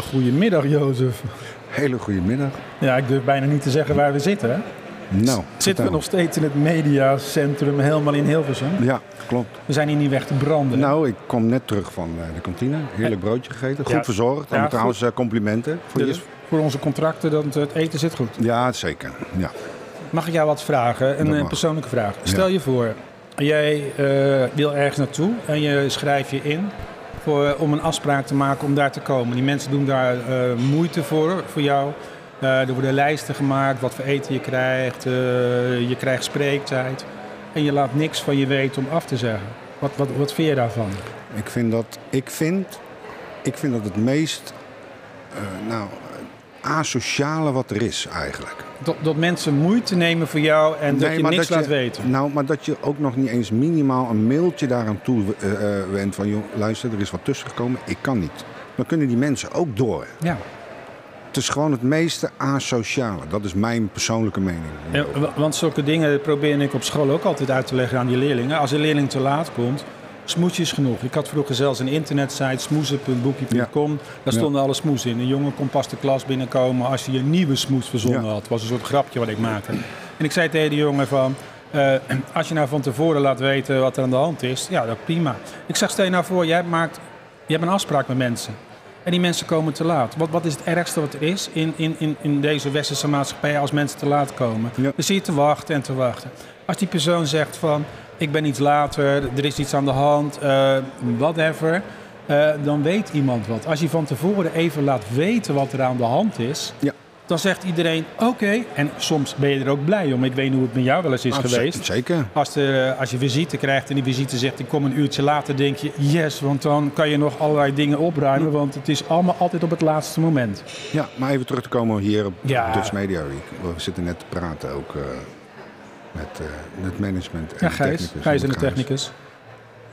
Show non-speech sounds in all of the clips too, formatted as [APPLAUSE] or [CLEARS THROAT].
Goedemiddag, Jozef. Hele goede middag. Ja, ik durf bijna niet te zeggen waar we zitten. Hè? Nou, Zitten vertel. we nog steeds in het mediacentrum, helemaal in Hilversum? Ja, klopt. We zijn hier niet weg te branden. Nou, ik kom net terug van eh, de kantine. Heerlijk broodje gegeten. Goed Ja. verzorgd. En Ja, trouwens, eh, complimenten. Voor De- je. voor onze contracten, dat het eten zit goed. Ja, zeker. Ja. Mag ik jou wat vragen? Een Dat eh, mag. persoonlijke vraag. Stel je voor, jij eh, wil ergens naartoe en je schrijft je in voor, eh, om een afspraak te maken om daar te komen. Die mensen doen daar eh, moeite voor, voor jou. Eh, er worden lijsten gemaakt, wat voor eten je krijgt. eh, je krijgt spreektijd. En je laat niks van je weten om af te zeggen. Wat, wat, wat vind je daarvan? Ik vind dat, ik vind, ik vind dat het meest eh, nou, eh, asociale wat er is eigenlijk. Dat, dat mensen moeite nemen voor jou en dat Nee, je maar niks dat laat je- weten. Nou, maar dat je ook nog niet eens minimaal een mailtje daaraan toe eh, eh, wendt van... joh, luister, er is wat tussen gekomen. Ik kan niet. Dan kunnen die mensen ook door. Ja. Het is gewoon het meeste asociale. Dat is mijn persoonlijke mening. Ja, wa- want zulke dingen probeer ik op school ook altijd uit te leggen aan die leerlingen. Als een leerling te laat komt, smoes is genoeg. Ik had vroeger zelfs een internetsite, smoesen.boekje.com. Daar Ja. stonden alle smoes in. Een jongen kon pas de klas binnenkomen als hij een nieuwe smoes verzonnen Ja. had. Het was een soort grapje wat ik maakte. En ik zei tegen de jongen van... eh, als je nou van tevoren laat weten wat er aan de hand is, ja, dat prima. Ik zeg, stel je nou voor, jij, maakt, jij hebt een afspraak met mensen. En die mensen komen te laat. Wat, wat is het ergste wat er is in, in, in, in deze westerse maatschappij als mensen te laat komen? Ja. Dan zie je te wachten en te wachten. Als die persoon zegt van, ik ben iets later, er is iets aan de hand, eh, whatever. eh, dan weet iemand wat. Als je van tevoren even laat weten wat er aan de hand is... Ja. dan zegt iedereen oké. En soms ben je er ook blij om. Ik weet niet hoe het met jou wel eens is Ah, ze- geweest. Zeker. Als, de, als je visite krijgt en die visite zegt ik kom een uurtje later, denk je yes, want dan kan je nog allerlei dingen opruimen, want het is allemaal altijd op het laatste moment. Ja, maar even terug te komen hier op Ja. Dutch Media Week. We zitten net te praten ook eh, met eh, het management en Ja, de Gijs, technicus. Gijs en de Met technicus.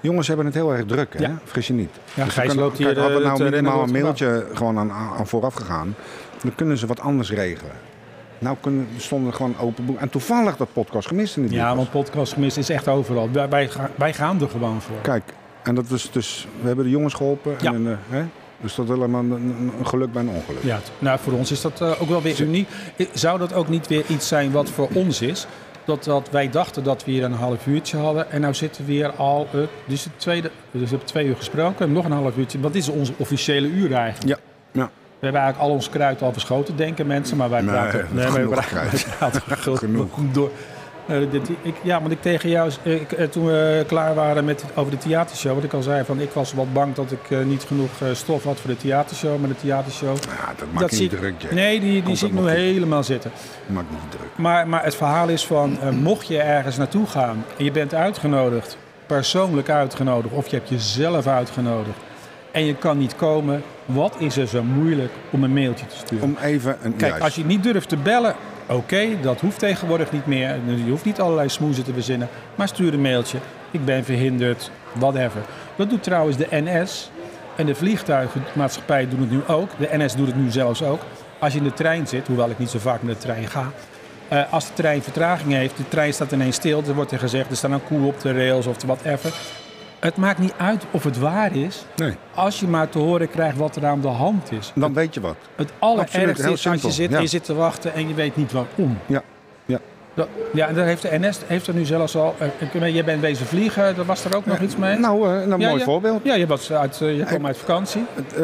Jongens hebben het heel erg druk, hè? Ja. Fris je niet. Dus Ja, we Gijs kunnen- loopt hier, kijk, Hadden we eh, nou te rennen minimaal door het een mailtje gewoon aan, aan vooraf gegaan... dan kunnen ze wat anders regelen. Nou kunnen, stonden er gewoon open boek. En toevallig dat podcast gemist in de Ja, boekjes. want podcast gemist is echt overal. Wij, wij, gaan- wij gaan er gewoon voor. Kijk, en dat is dus... We hebben de jongens geholpen. Ja. En, eh, hè? Dus dat is helemaal een, een- een geluk bij een ongeluk. Ja, t- nou, voor ons is dat eh, ook wel weer uniek. I- Zou dat ook niet weer iets zijn wat voor ons is? Dat, dat wij dachten dat we hier een half uurtje hadden. En nou zitten we hier al. eh, dus, het tweede, dus we hebben twee uur gesproken. en Nog een half uurtje. Wat is onze officiële uur eigenlijk? Ja, ja. We hebben eigenlijk al ons kruid al verschoten, denken mensen. Maar wij Nee, praten. genoeg eh, maar [LAUGHS] kruid. wij praten Genoeg. Door. Eh, dit- ik, ja, want ik tegen jou, eh, ik, eh, toen we klaar waren met, over de theatershow, wat ik al zei, van ik was wat bang dat ik eh, niet genoeg eh, stof had voor de theatershow. Maar de theatershow, Ja, dat maakt dat niet zie ik- druk, Jack. Nee, die, die Komt zie ik ook nu nog goed. helemaal zitten. Maakt niet druk. Maar, maar het verhaal is van, eh, mocht je ergens naartoe gaan en je bent uitgenodigd, persoonlijk uitgenodigd, of je hebt jezelf uitgenodigd en je kan niet komen, wat is er zo moeilijk om een mailtje te sturen? Om even een... Kijk, juist. als je niet durft te bellen, oké, dat hoeft tegenwoordig niet meer. Dus Je hoeft niet allerlei smoezen te verzinnen, maar stuur een mailtje. Ik ben verhinderd, whatever. Dat doet trouwens de NS en de vliegtuigmaatschappij doen het nu ook. De NS doet het nu zelfs ook. Als je in de trein zit, hoewel ik niet zo vaak met de trein ga. eh, als de trein vertraging heeft, de trein staat ineens stil, dan wordt er gezegd, er staat een koe op de rails of whatever. Het maakt niet uit of het waar is, Nee, als je maar te horen krijgt wat er aan de hand is. dan weet je wat. Het Absoluut, allerergste heel is als je simpel, zit, ja. en je zit te wachten en je weet niet waarom. Ja, ja. Dat- ja, en daar heeft de NS heeft er nu zelfs al... eh, ik weet, jij bent bezig vliegen, daar was er ook nog iets mee? Nou, eh, een Ja, mooi ja. voorbeeld. Ja, je, was uit, eh, je kwam uit vakantie. Het, eh,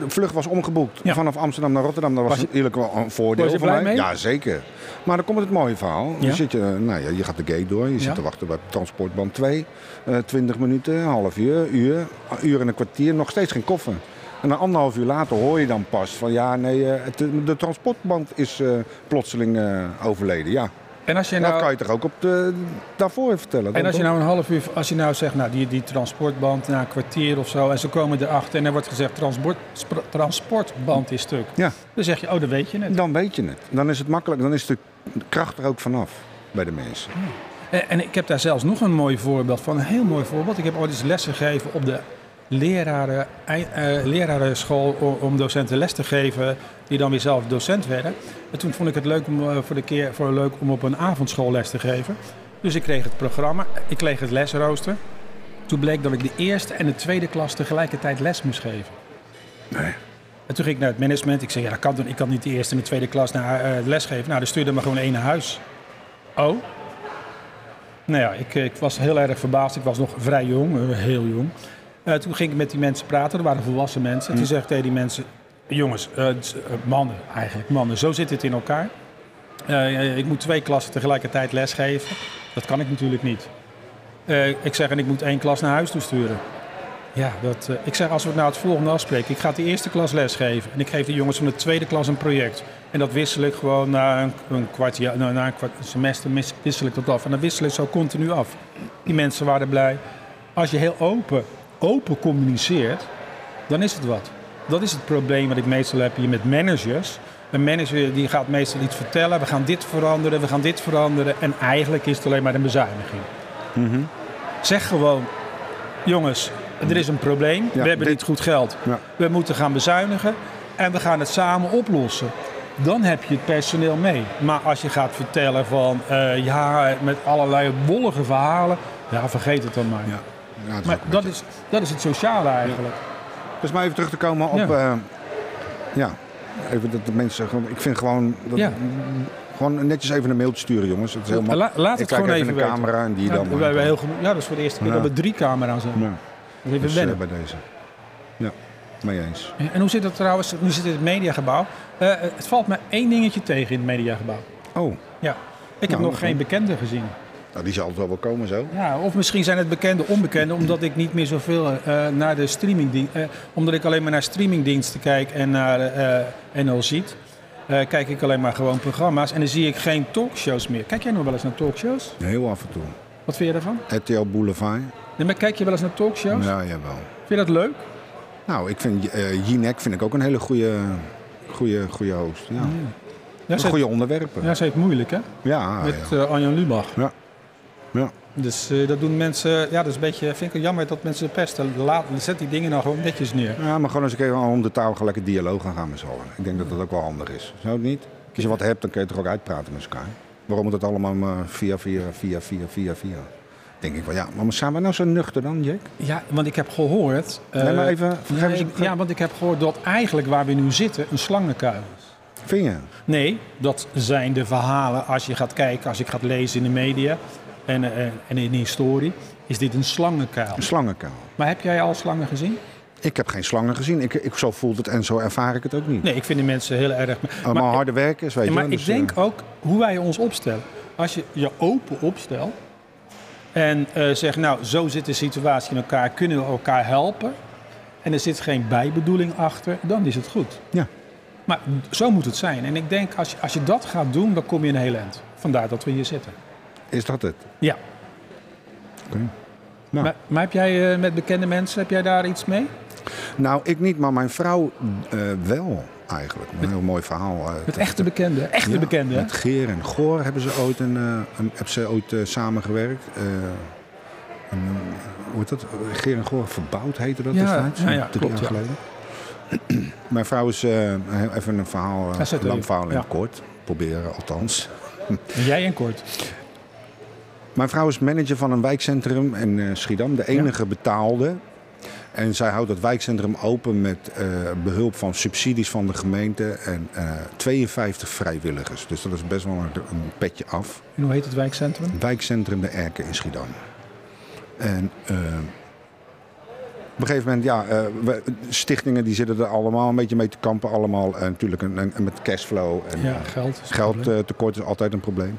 de vlucht was omgeboekt Ja. vanaf Amsterdam naar Rotterdam. Dat was, Was je- eerlijk wel een voordeel was je voor blij mij. mee? Ja, zeker. Maar dan komt het mooie verhaal. Ja. Dan zit je, nou ja, je gaat de gate door. Je Ja. zit te wachten bij transportband 2. Eh 20 minuten, een half uur, uur, een uur en een kwartier. Nog steeds geen koffer. En dan anderhalf uur later hoor je dan pas van ja, nee, eh, het, de transportband is eh, plotseling eh, overleden. Ja, En als je dat kan nou, je toch ook op de, daarvoor vertellen. en dan als je toch? nou een half uur... Als je nou zegt, nou, die, die transportband na een kwartier of zo... en ze komen erachter en er wordt gezegd, transport, spra- transportband is stuk. Ja. Dan zeg je, oh, dat weet je net. Dan weet je het. Dan is het makkelijk. Dan is de kracht er ook vanaf bij de mensen. Eh, En, en ik heb daar zelfs nog een mooi voorbeeld van. Een heel mooi voorbeeld. Ik heb ooit eens lessen gegeven op de leraren, ei- eh, lerarenschool o- om docenten les te geven die dan weer zelf docent werden. En toen vond ik het leuk om, eh, voor de keer, voor leuk om op een avondschool les te geven. Dus ik kreeg het programma, ik kreeg het lesrooster. Toen bleek dat ik de eerste en de tweede klas tegelijkertijd les moest geven. Nee. En toen ging ik naar het management. Ik zei, ja, dat kan toch niet. Ik kan niet de eerste en de tweede klas naar eh, lesgeven. Nou, dan stuurde maar gewoon één naar huis. Oh? Nou ja, ik, ik was heel erg verbaasd. Ik was nog vrij jong, eh, heel jong. Eh, toen ging ik met die mensen praten. Dat waren volwassen mensen. En toen zegt tegen die mensen... Jongens, eh, het- eh, mannen eigenlijk, mannen. Zo zit het in elkaar. Eh, ik moet twee klassen tegelijkertijd lesgeven. Dat kan ik natuurlijk niet. Eh, ik zeg, en ik moet één klas naar huis toe sturen. Ja, dat, eh, ik zeg, als we het nou het volgende afspreken. Ik ga de eerste klas lesgeven. En ik geef de jongens van de tweede klas een project. En dat wissel ik gewoon na een, een kwartier, na, na een kwart- semester mis- wissel ik dat af. En dan wissel ik zo continu af. Die mensen waren blij. Als je heel open, open communiceert, dan is het wat. Dat is het probleem wat ik meestal heb hier met managers. Een manager die gaat meestal iets vertellen. We gaan dit veranderen, we gaan dit veranderen. En eigenlijk is het alleen maar een bezuiniging. Zeg gewoon, jongens, er is een probleem. we hebben dit- niet goed geld. Ja. We moeten gaan bezuinigen en we gaan het samen oplossen. Dan heb je het personeel mee. Maar als je gaat vertellen van, eh, ja, met allerlei wollige verhalen. Ja, vergeet het dan maar. Ja. Ja, dat is Maar ook een dat is, dat is het sociale eigenlijk. Dus maar even terug te komen op... Ja. Ja. ja. Even dat de mensen... gewoon- Ik vind gewoon... Dat, Ja. Gewoon netjes even een mailtje sturen, jongens. Het is helemaal... La- laat het ik kijk gewoon even even in de weten. camera en die Ja, dan. we hebben heel gemo- ja, dat is voor de eerste keer Ja. dat we drie camera's hebben. Ja, Dat is even dus, eh, wennen. bij deze. Ja, mee eens. En hoe zit het trouwens, nu zit het in het mediagebouw. Eh, het valt me één dingetje tegen in het mediagebouw. Oh, Ja. Ik heb Nou, nog geen bekenden gezien. nou, die zal altijd wel komen zo. Ja, of misschien zijn het bekende onbekende, omdat ik niet meer zoveel eh, naar de streaming, omdat ik alleen maar naar streamingdiensten kijk en naar eh NL ziet, eh, kijk ik alleen maar gewoon programma's en dan zie ik geen talkshows meer. Kijk jij nog wel eens naar talkshows? Heel af en toe. Wat vind je daarvan? RTL Boulevard. Nee, maar kijk je wel eens naar talkshows? Ja, jawel. Vind je dat leuk? Nou, ik vind eh Jinek vind ik ook een hele goede, goede, goede host. Ja. Ja, ze, goede onderwerpen. ja, Ja, ze heeft moeilijk hè, Ah, ja, met eh, Arjan Lubach. Ja. Ja. Dus eh, dat doen mensen, ja, dat is een beetje, vind ik wel jammer dat mensen pesten. Laat, zet die dingen nou gewoon netjes neer. Ja, maar gewoon eens een keer om de tafel lekker dialoog aan gaan met z'n allen. Ik denk dat dat ook wel handig is. Zou het niet? Als je wat hebt, dan kun je het toch ook uitpraten met elkaar. Waarom moet het allemaal maar via, via, via, via, via, via? Denk ik wel, ja, maar zijn we nou zo nuchter dan, Jack? Ja, want ik heb gehoord. nee, eh, maar even, Nee, geef eens ik- ja, want ik heb gehoord dat eigenlijk waar we nu zitten een slangenkuil is. Vind je? Nee, dat zijn de verhalen als je gaat kijken, als ik gaat lezen in de media en, eh, en in de historie, is dit een slangenkuil. Een slangenkuil. Maar heb jij al slangen gezien? Ik heb geen slangen gezien. Ik, ik, zo voelt het en zo ervaar ik het ook niet. Nee, ik vind die mensen heel erg... Allemaal maar harde werkers, weet Ja, je. maar dus, ik eh, denk ook hoe wij ons opstellen. Als je je open opstelt en eh, zegt, nou, zo zit de situatie in elkaar, kunnen we elkaar helpen? En er zit geen bijbedoeling achter, dan is het goed. Ja. Maar zo moet het zijn. En ik denk, als je, als je dat gaat doen, dan kom je in een heel eind. Vandaar dat we hier zitten. Is dat het? Ja. Oké. Nou. Maar, maar heb jij eh, met bekende mensen, heb jij daar iets mee? Nou, ik niet, maar mijn vrouw eh, wel eigenlijk. Een heel mooi verhaal. eh, Met echte bekenden? Echte Ja, bekenden? hè? Met Geer en Goor hebben ze ooit, een, eh, een, hebben ze ooit eh, samengewerkt. Eh, een, hoe heet dat? Geer en Goor verbouwd heette dat Ja, destijds. ja, ja, drie klopt, jaar ja. geleden. [CLEARS THROAT] Mijn vrouw is, eh, heel even een verhaal, eh, Ja, zet een lang even, verhaal in ja. het kort. Proberen althans. Jij en Kort. Mijn vrouw is manager van een wijkcentrum in eh, Schiedam, de enige betaalde. En zij houdt dat wijkcentrum open met eh, behulp van subsidies van de gemeente en eh, 52 vrijwilligers. Dus dat is best wel een, een petje af. En hoe heet het wijkcentrum? Wijkcentrum De Erken in Schiedam. En eh, op een gegeven moment, ja, eh, we- stichtingen die zitten er allemaal een beetje mee te kampen. Allemaal eh, natuurlijk een, een- met cashflow en eh, Ja, geld. Geldtekort is altijd een probleem.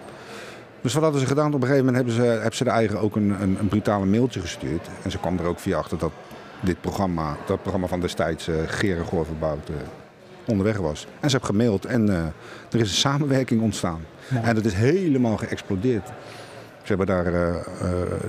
Dus wat hadden ze gedaan? Op een gegeven moment hebben ze, hebben ze de eigen ook een, een, een brutale mailtje gestuurd. En ze kwam er ook via achter dat dit programma, dat programma van destijds, eh Geren Goor verbouwd, eh, onderweg was. En ze hebben gemaild en eh, er is een samenwerking ontstaan. Ja. En dat is helemaal geëxplodeerd. Ze hebben daar, eh, eh,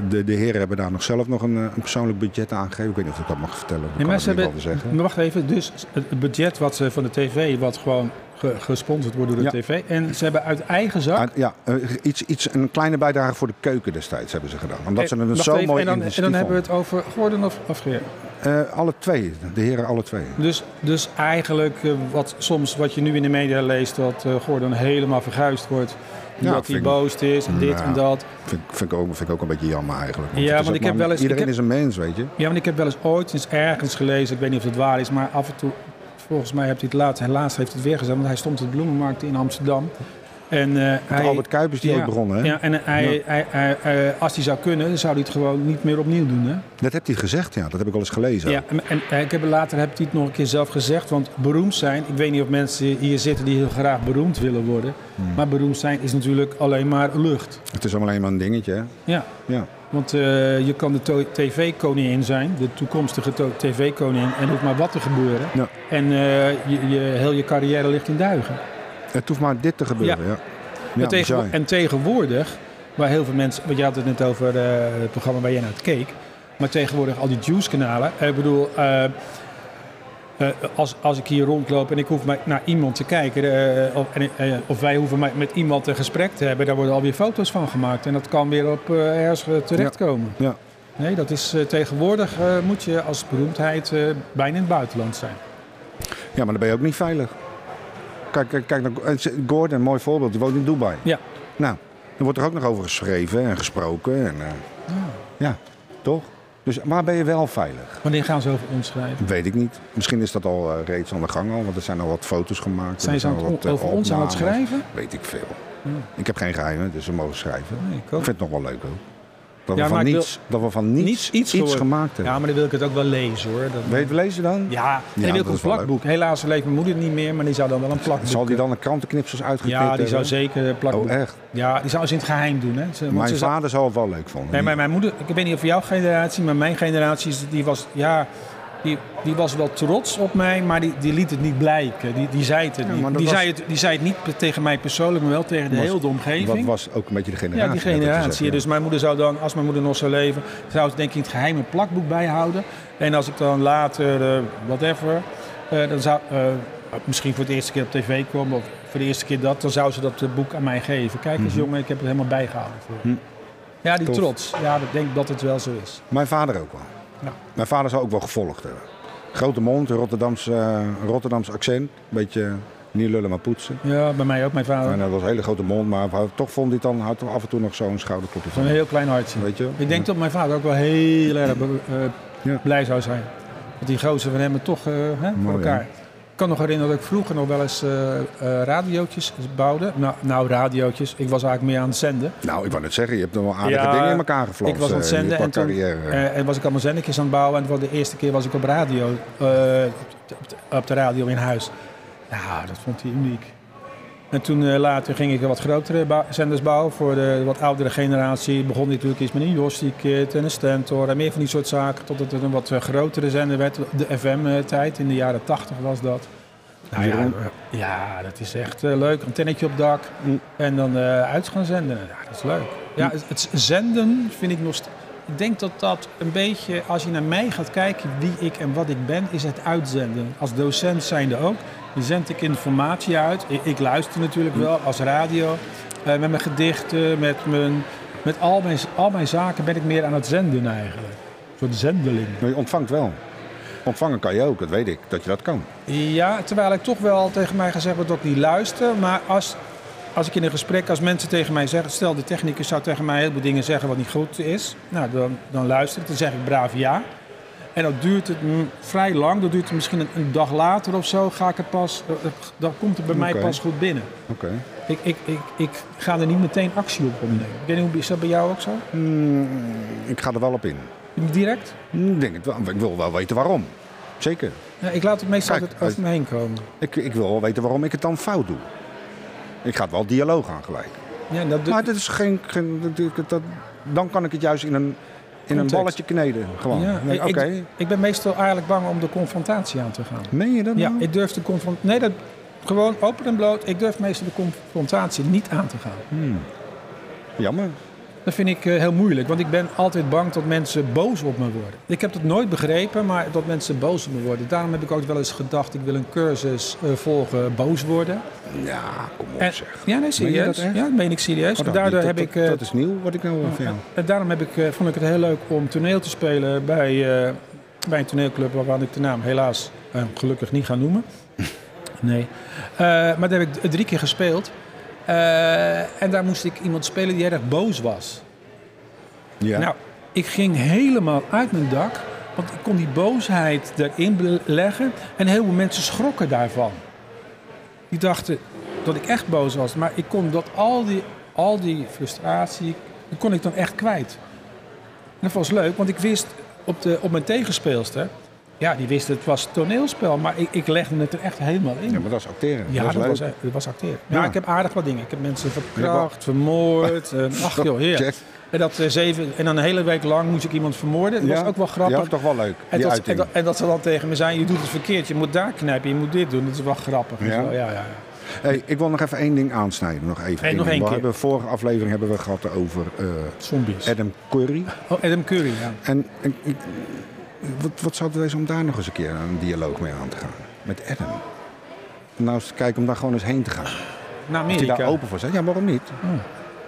de, de heren hebben daar nog zelf nog een, eh, een persoonlijk budget aangegeven. Ik weet niet of ik dat mag vertellen. Dat Nee, kan maar ik ze niet hebben, wel zeggen. maar wacht even, dus het het budget wat ze van de tv, wat gewoon ge- gesponsord wordt door de tv. En ze hebben uit eigen zak... Ah, ja, eh, iets, iets, een kleine bijdrage voor de keuken destijds hebben ze gedaan. Omdat ze Eh, het wacht zo even, mooi en dan, en initiatief dan hebben we vonden. het over Gordon of, of Geer. Eh, alle twee, de heren alle twee. Dus, dus eigenlijk eh, wat, soms wat je nu in de media leest, dat eh, Gordon helemaal verguisd wordt. Ja, Omdat vind hij ik- boos is en dit Nou. en dat. Vind, ik- vind, ik ook, vind ik ook een beetje jammer eigenlijk. Ja, het is want ook ik heb maar- wel eens- ik Iedereen heb- is een mens, weet je. Ja, want ik heb wel eens ooit eens ergens gelezen, ik weet niet of het waar is, maar af en toe Volgens mij heeft hij het laatst, helaas heeft hij het weer gezet, want hij stond op de bloemenmarkt in Amsterdam. En, eh, hij, Albert Kuipers die ja, ook begonnen. Hè? Ja, en hij, Ja. Hij, hij, eh, als hij zou kunnen, dan zou hij het gewoon niet meer opnieuw doen. Hè? Dat hebt hij gezegd, ja. Dat heb ik al eens gelezen. Ja, en, en, eh, ik heb, later heb hij het nog een keer zelf gezegd. Want beroemd zijn, ik weet niet of mensen hier zitten die heel graag beroemd willen worden. Hmm. Maar beroemd zijn is natuurlijk alleen maar lucht. Het is allemaal alleen maar een dingetje, hè. Ja, Ja. want eh, je kan de to- tv-koningin zijn, de toekomstige to- tv-koningin, en er hoeft maar wat te gebeuren. Ja. En eh, je, je, heel je carrière ligt in duigen. Het hoeft maar dit te gebeuren, ja. ja. Maar tegen- bizar. en tegenwoordig, waar heel veel mensen, want je had het net over eh, het programma waar jij naar keek, maar tegenwoordig al die juice-kanalen. eh, ik bedoel, eh, eh, als, als ik hier rondloop en ik hoef maar naar iemand te kijken, eh, of, en, eh, of wij hoeven maar met iemand een gesprek te hebben, daar worden alweer foto's van gemaakt en dat kan weer op eh, ergens eh, terechtkomen. Ja. Nee, dat is eh, tegenwoordig eh, moet je als beroemdheid eh, bijna in het buitenland zijn. Ja, maar dan ben je ook niet veilig. Kijk, kijk, kijk naar eh, Gordon, een mooi voorbeeld. Die woont in Dubai. Ja. Nou, er wordt er ook nog over geschreven en gesproken. En, eh, ja, toch? Dus waar ben je wel veilig? Wanneer gaan ze over ons schrijven? Weet ik niet. Misschien is dat al eh, reeds aan de gang al, want er zijn al wat foto's gemaakt. Zijn Er ze aan al het wat, on- eh, over ons aan het opnames. schrijven? Hmm. Weet ik veel. Ik heb geen geheimen, dus we mogen schrijven. Nee, ik ook. Ik vind het nog wel leuk ook. Dat, Ja, we, maar van ik wil- niets, dat we van niets, Niets iets iets, gehoord. gemaakt hebben. Ja, maar dan wil ik het ook wel lezen hoor. Dat- Weet je, lezen dan? Ja, en Ja, ik wil dat ook een is wel plakboek. Helaas leeft mijn moeder niet meer, maar die zou dan wel een plakboek... eh, Zal die dan de krantenknipsels uitgeknipt Ja, die zou hebben? zeker een plakboek... Oh, echt? Ja, die zou ze in het geheim doen. Hè. Ze, want Mijn ze zou- vader zou het wel leuk vonden. Nee, maar mijn moeder... Ik weet niet of jouw generatie, maar mijn generatie is- die was... Ja, die, die was wel trots op mij, maar die, die liet het niet blijken. Die, die zei het er Ja, niet. maar dat die, was- zei het, die zei het niet pe- tegen mij persoonlijk, maar wel tegen de Was- hele Dat omgeving. was ook een beetje de generatie. ja, die net wat je generatie. zegt, Dus mijn moeder zou dan, als mijn moeder nog zou leven, zou ze denk ik in het geheim een plakboek bijhouden. En als ik dan later, eh, whatever, eh, dan zou, eh, misschien voor de eerste keer op tv kwam of voor de eerste keer dat, dan zou ze dat eh, boek aan mij geven. Kijk eens jongen, ik heb het helemaal bijgehouden voor je. Ja, die Tof. trots. Ja, ik denk dat het wel zo is. ja. Mijn vader ook wel. Ja. Mijn vader zou ook wel gevolgd hebben. Grote mond, Rotterdams, eh, Rotterdams accent. Beetje eh, niet lullen, maar poetsen. Ja, bij mij ook, mijn vader. En dat was een hele grote mond, maar hij- toch vond hij dan had toch af en toe nog zo'n schouderklopje Zo'n van. heel klein hartje. Weet je? Ik denk dat mijn vader ook wel heel erg be- eh, Ja. blij zou zijn. Dat die gozer van hem het toch eh, hè, voor Mooi, elkaar. Ik kan nog herinneren dat ik vroeger nog wel eens eh, eh, radiootjes bouwde. Nou, nou, radiootjes. Ik was eigenlijk meer aan het zenden. Nou, ik wou net zeggen, je hebt nog wel aardige Ja, dingen in elkaar geflanst. ik was aan het eh, in je zenden en toen- carrière. Eh, en was ik allemaal zendetjes aan het bouwen. En voor de eerste keer was ik op radio, eh, op, de- op de, op de radio in huis. Nou, dat vond hij uniek. En toen eh, later ging ik wat grotere bou- zenders bouwen voor de wat oudere generatie. Begon ik natuurlijk iets met een Josti-kit en een Stentor en meer van die soort zaken. Totdat het een wat eh, grotere zender werd. De FM-tijd, in de jaren 80 was dat. Nou ja, Jeroen? eh, ja, dat is echt eh, leuk. Een tennetje op dak Mm. en dan eh, uit gaan zenden. Ja, dat is leuk. Ja, het, het zenden vind ik nog... st- Ik denk dat dat een beetje, als je naar mij gaat kijken, wie ik en wat ik ben, is het uitzenden. Als docent zijnde ook. Dan zend ik informatie uit. Ik, ik luister natuurlijk wel als radio. Eh, met mijn gedichten, met, mijn, met al, mijn, al mijn zaken ben ik meer aan het zenden eigenlijk. Een soort zendeling. Maar je ontvangt wel. Ontvangen kan je ook, dat weet ik, dat je dat kan. Ja, terwijl ik toch wel tegen mij gezegd wordt dat ik niet luister. Maar als, als ik in een gesprek, als mensen tegen mij zeggen... Stel, de technicus zou tegen mij heel veel dingen zeggen wat niet goed is. Nou, dan, dan luister ik. Dan zeg ik braaf ja. En dat duurt het mm, vrij lang. Dat duurt het misschien een, een dag later of zo. Ga ik het pas... eh, eh, Dan komt het bij mij Oké. pas goed binnen. Oké. Ik, ik, ik, ik ga er niet meteen actie op ondernemen. Ik weet niet, hoe- is dat bij jou ook zo? Hmm, ik ga er wel op in. Direct? Hmm, denk het wel. Ik wil wel weten waarom. Zeker. Ja, ik laat het meestal Kijk, altijd over me heen komen. Ik, ik wil wel weten waarom ik het dan fout doe. Ik ga het wel dialoog aan gelijk. Ja, dat, Maar dat is geen, geen- dat- dat, dat- dan kan ik het juist in een, in een Context. balletje kneden. Gewoon. ja, Nee, ik- Oké. ik, ik ben meestal eigenlijk bang om de confrontatie aan te gaan. Meen je dat Ja, nou? ik durf de confrontatie. Nee, dat, gewoon open en bloot. Ik durf meestal de confrontatie niet aan te Mm. gaan. Jammer. Dat vind ik eh, heel moeilijk, want ik ben altijd bang dat mensen boos op me worden. Ik heb dat nooit begrepen, maar dat mensen boos op me worden. Daarom heb ik ook wel eens gedacht: ik wil een cursus eh, volgen, boos worden. Ja, kom op En, zeg. ja, nee, Meen je dat serieus. echt? Ja, dat meen ik serieus. Oh, dat Daardoor niet. heb Dat- ik. dat, eh, dat is nieuw wat ik nou hoor van jou. En daarom heb ik, eh, vond ik het heel leuk om toneel te spelen bij, eh, bij een toneelclub waarvan ik de naam helaas eh, gelukkig niet ga noemen. Nee. Eh, maar daar heb ik d- drie keer gespeeld. Eh, en daar moest ik iemand spelen die heel erg boos was. Ja. Nou, ik ging helemaal uit mijn dak. Want ik kon die boosheid erin be- leggen. En heel veel mensen schrokken daarvan. Die dachten dat ik echt boos was. Maar ik kon dat al die, al die frustratie, die kon ik dan echt kwijt. En dat was leuk, want ik wist op, de, op mijn tegenspeelster... Ja, die wist het was toneelspel, maar ik, ik legde het er echt helemaal in. Ja, maar dat is acteren. Ja, dat dat, is leuk. was, eh, dat was acteren. Ja. Ja. ik heb aardig wat dingen. Ik heb mensen Ik verkracht, vermoord. eh, Ach joh, heer. Check. En, dat, eh, zeven, en dan een hele week lang moest ik iemand vermoorden. Dat was ook wel grappig. Ja, toch wel leuk. en, dat, die en, uiting. dat, en dat ze dan tegen me zeiden, je doet het verkeerd. Je moet daar knijpen, je moet dit doen. Dat is wel grappig. en Ja. zo. ja, ja, ja. Hey, ik wil nog even één ding aansnijden. Nog even. Hey, nog één we keer. Hebben, vorige aflevering hebben we gehad over eh, Zombies. Adam Curry. oh, Adam Curry, ja. En, en ik- wat, wat zou het wezen om daar nog eens een keer een dialoog mee aan te gaan? Met Adam. Nou, eens kijken om daar gewoon eens heen te gaan. Als Naar die Amerika. daar open voor zijn. Ja, waarom niet?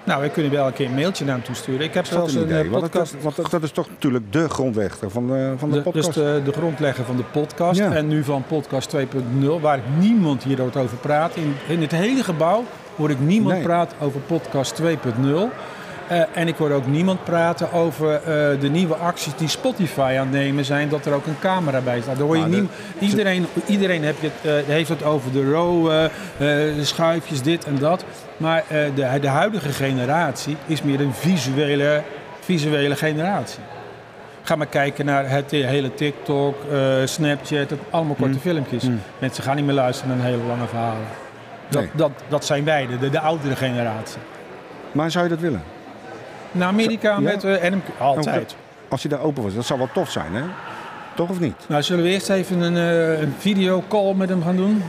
Nou, we kunnen wel een keer een mailtje naar hem toe sturen. Ik heb Dat zelfs is een, een idee. eh, Want, dat, podcast... want dat- dat is toch natuurlijk de grondrechter van de, van de, de- podcast. Dus de, de grondlegger van de podcast. Ja. En nu van podcast 2.0, waar ik niemand hier ooit over praat. In, in het hele gebouw hoor ik niemand Nee. praten over podcast 2.0. Eh, en ik hoor ook niemand praten over eh, de nieuwe acties die Spotify aan het nemen zijn. Dat er ook een camera bij staat. Daar hoor je Maar de- niem- iedereen iedereen heb je het, eh, heeft het over de row, eh, eh, de schuifjes, dit en dat. Maar eh, de, de huidige generatie is meer een visuele, visuele generatie. Ga maar kijken naar het hele TikTok, eh, Snapchat, het, allemaal Mm. korte filmpjes. Mensen gaan niet meer luisteren naar een hele lange verhalen. Dat, Nee. dat, dat zijn wij, de, de oudere generatie. Maar zou je dat willen? Naar Amerika Ja. met eh, Adam Curry. Altijd. Als je daar open was, dat zou wel tof zijn, hè? Toch of niet? Nou, zullen we eerst even een, eh, een videocall met hem gaan doen?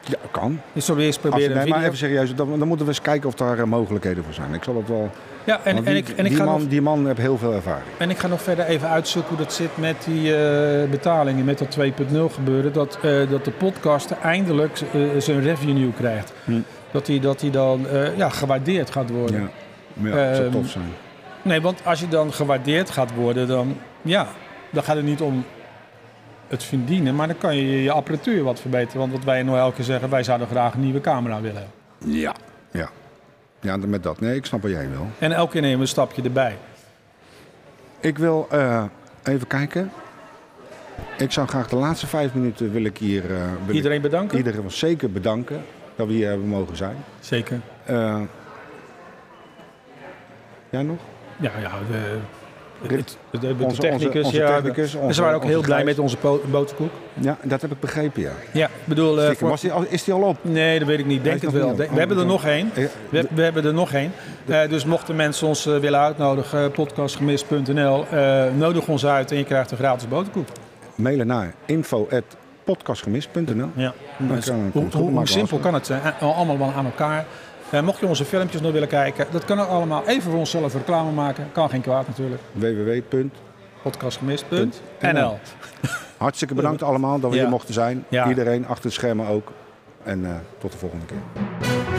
Ja, kan. Dus zullen we eerst Als je, proberen nee, een maar video... even serieus, dan, dan moeten we eens kijken of daar eh, mogelijkheden voor zijn. Ik zal het wel. Ja, en, want en, die, ik, en, ik die, ga man, nog, die man heeft heel veel ervaring. en ik ga nog verder even uitzoeken hoe dat zit met die eh, betalingen, met dat 2.0 gebeuren. Dat, eh, dat de podcaster eindelijk eh, zijn revenue krijgt. Hm. Dat hij dat die dan eh, ja, gewaardeerd gaat worden. Ja, ja dat zou Ehm, tof zijn. Nee, want als je dan gewaardeerd gaat worden, dan, ja, dan gaat het niet om het verdienen, maar dan kan je je apparatuur wat verbeteren. Want wat wij nou elke keer zeggen, wij zouden graag een nieuwe camera willen. Ja. ja. Ja, dan met dat. Nee, ik snap wat jij wil. En elke keer nemen we een stapje erbij. Ik wil eh, even kijken. Ik zou graag de laatste vijf minuten wil ik hier. eh, wil ik Iedereen bedanken? iedereen wel zeker bedanken dat we hier hebben mogen zijn. Zeker. Eh, jij nog? Ja, ja. eh, De, Dit- de, de- de onze- technicus, onze ja. technicus, en onze- ze waren ook onze heel blij Gijs. met onze po- boterkoek. Ja, dat heb ik begrepen, ja. Ja, ik bedoel... eh, Stiekem. voor- Was die al- is die al op? Nee, dat weet ik niet. Hij Denk is het nog wel. niet Denk- op. we hebben er Oh, nog één. Eh, We, we hebben er nog één. Eh, dus mochten mensen ons eh, willen uitnodigen, eh, podcastgemist.nl, eh, nodig ons uit en je krijgt een gratis boterkoek. Mailen naar info.podcastgemist.nl. Ja. Dus kan- kan hoe het goed hoe- hoe maken simpel als- kan het zijn? Eh, Allemaal wel aan elkaar. Eh, mocht je onze filmpjes nog willen kijken, dat kan ook allemaal. Even voor onszelf reclame maken. Kan geen kwaad natuurlijk. www. Podcastgemist.nl. Hartstikke bedankt allemaal dat we Ja. hier mochten zijn. Ja. Iedereen achter de schermen ook. En eh, tot de volgende keer.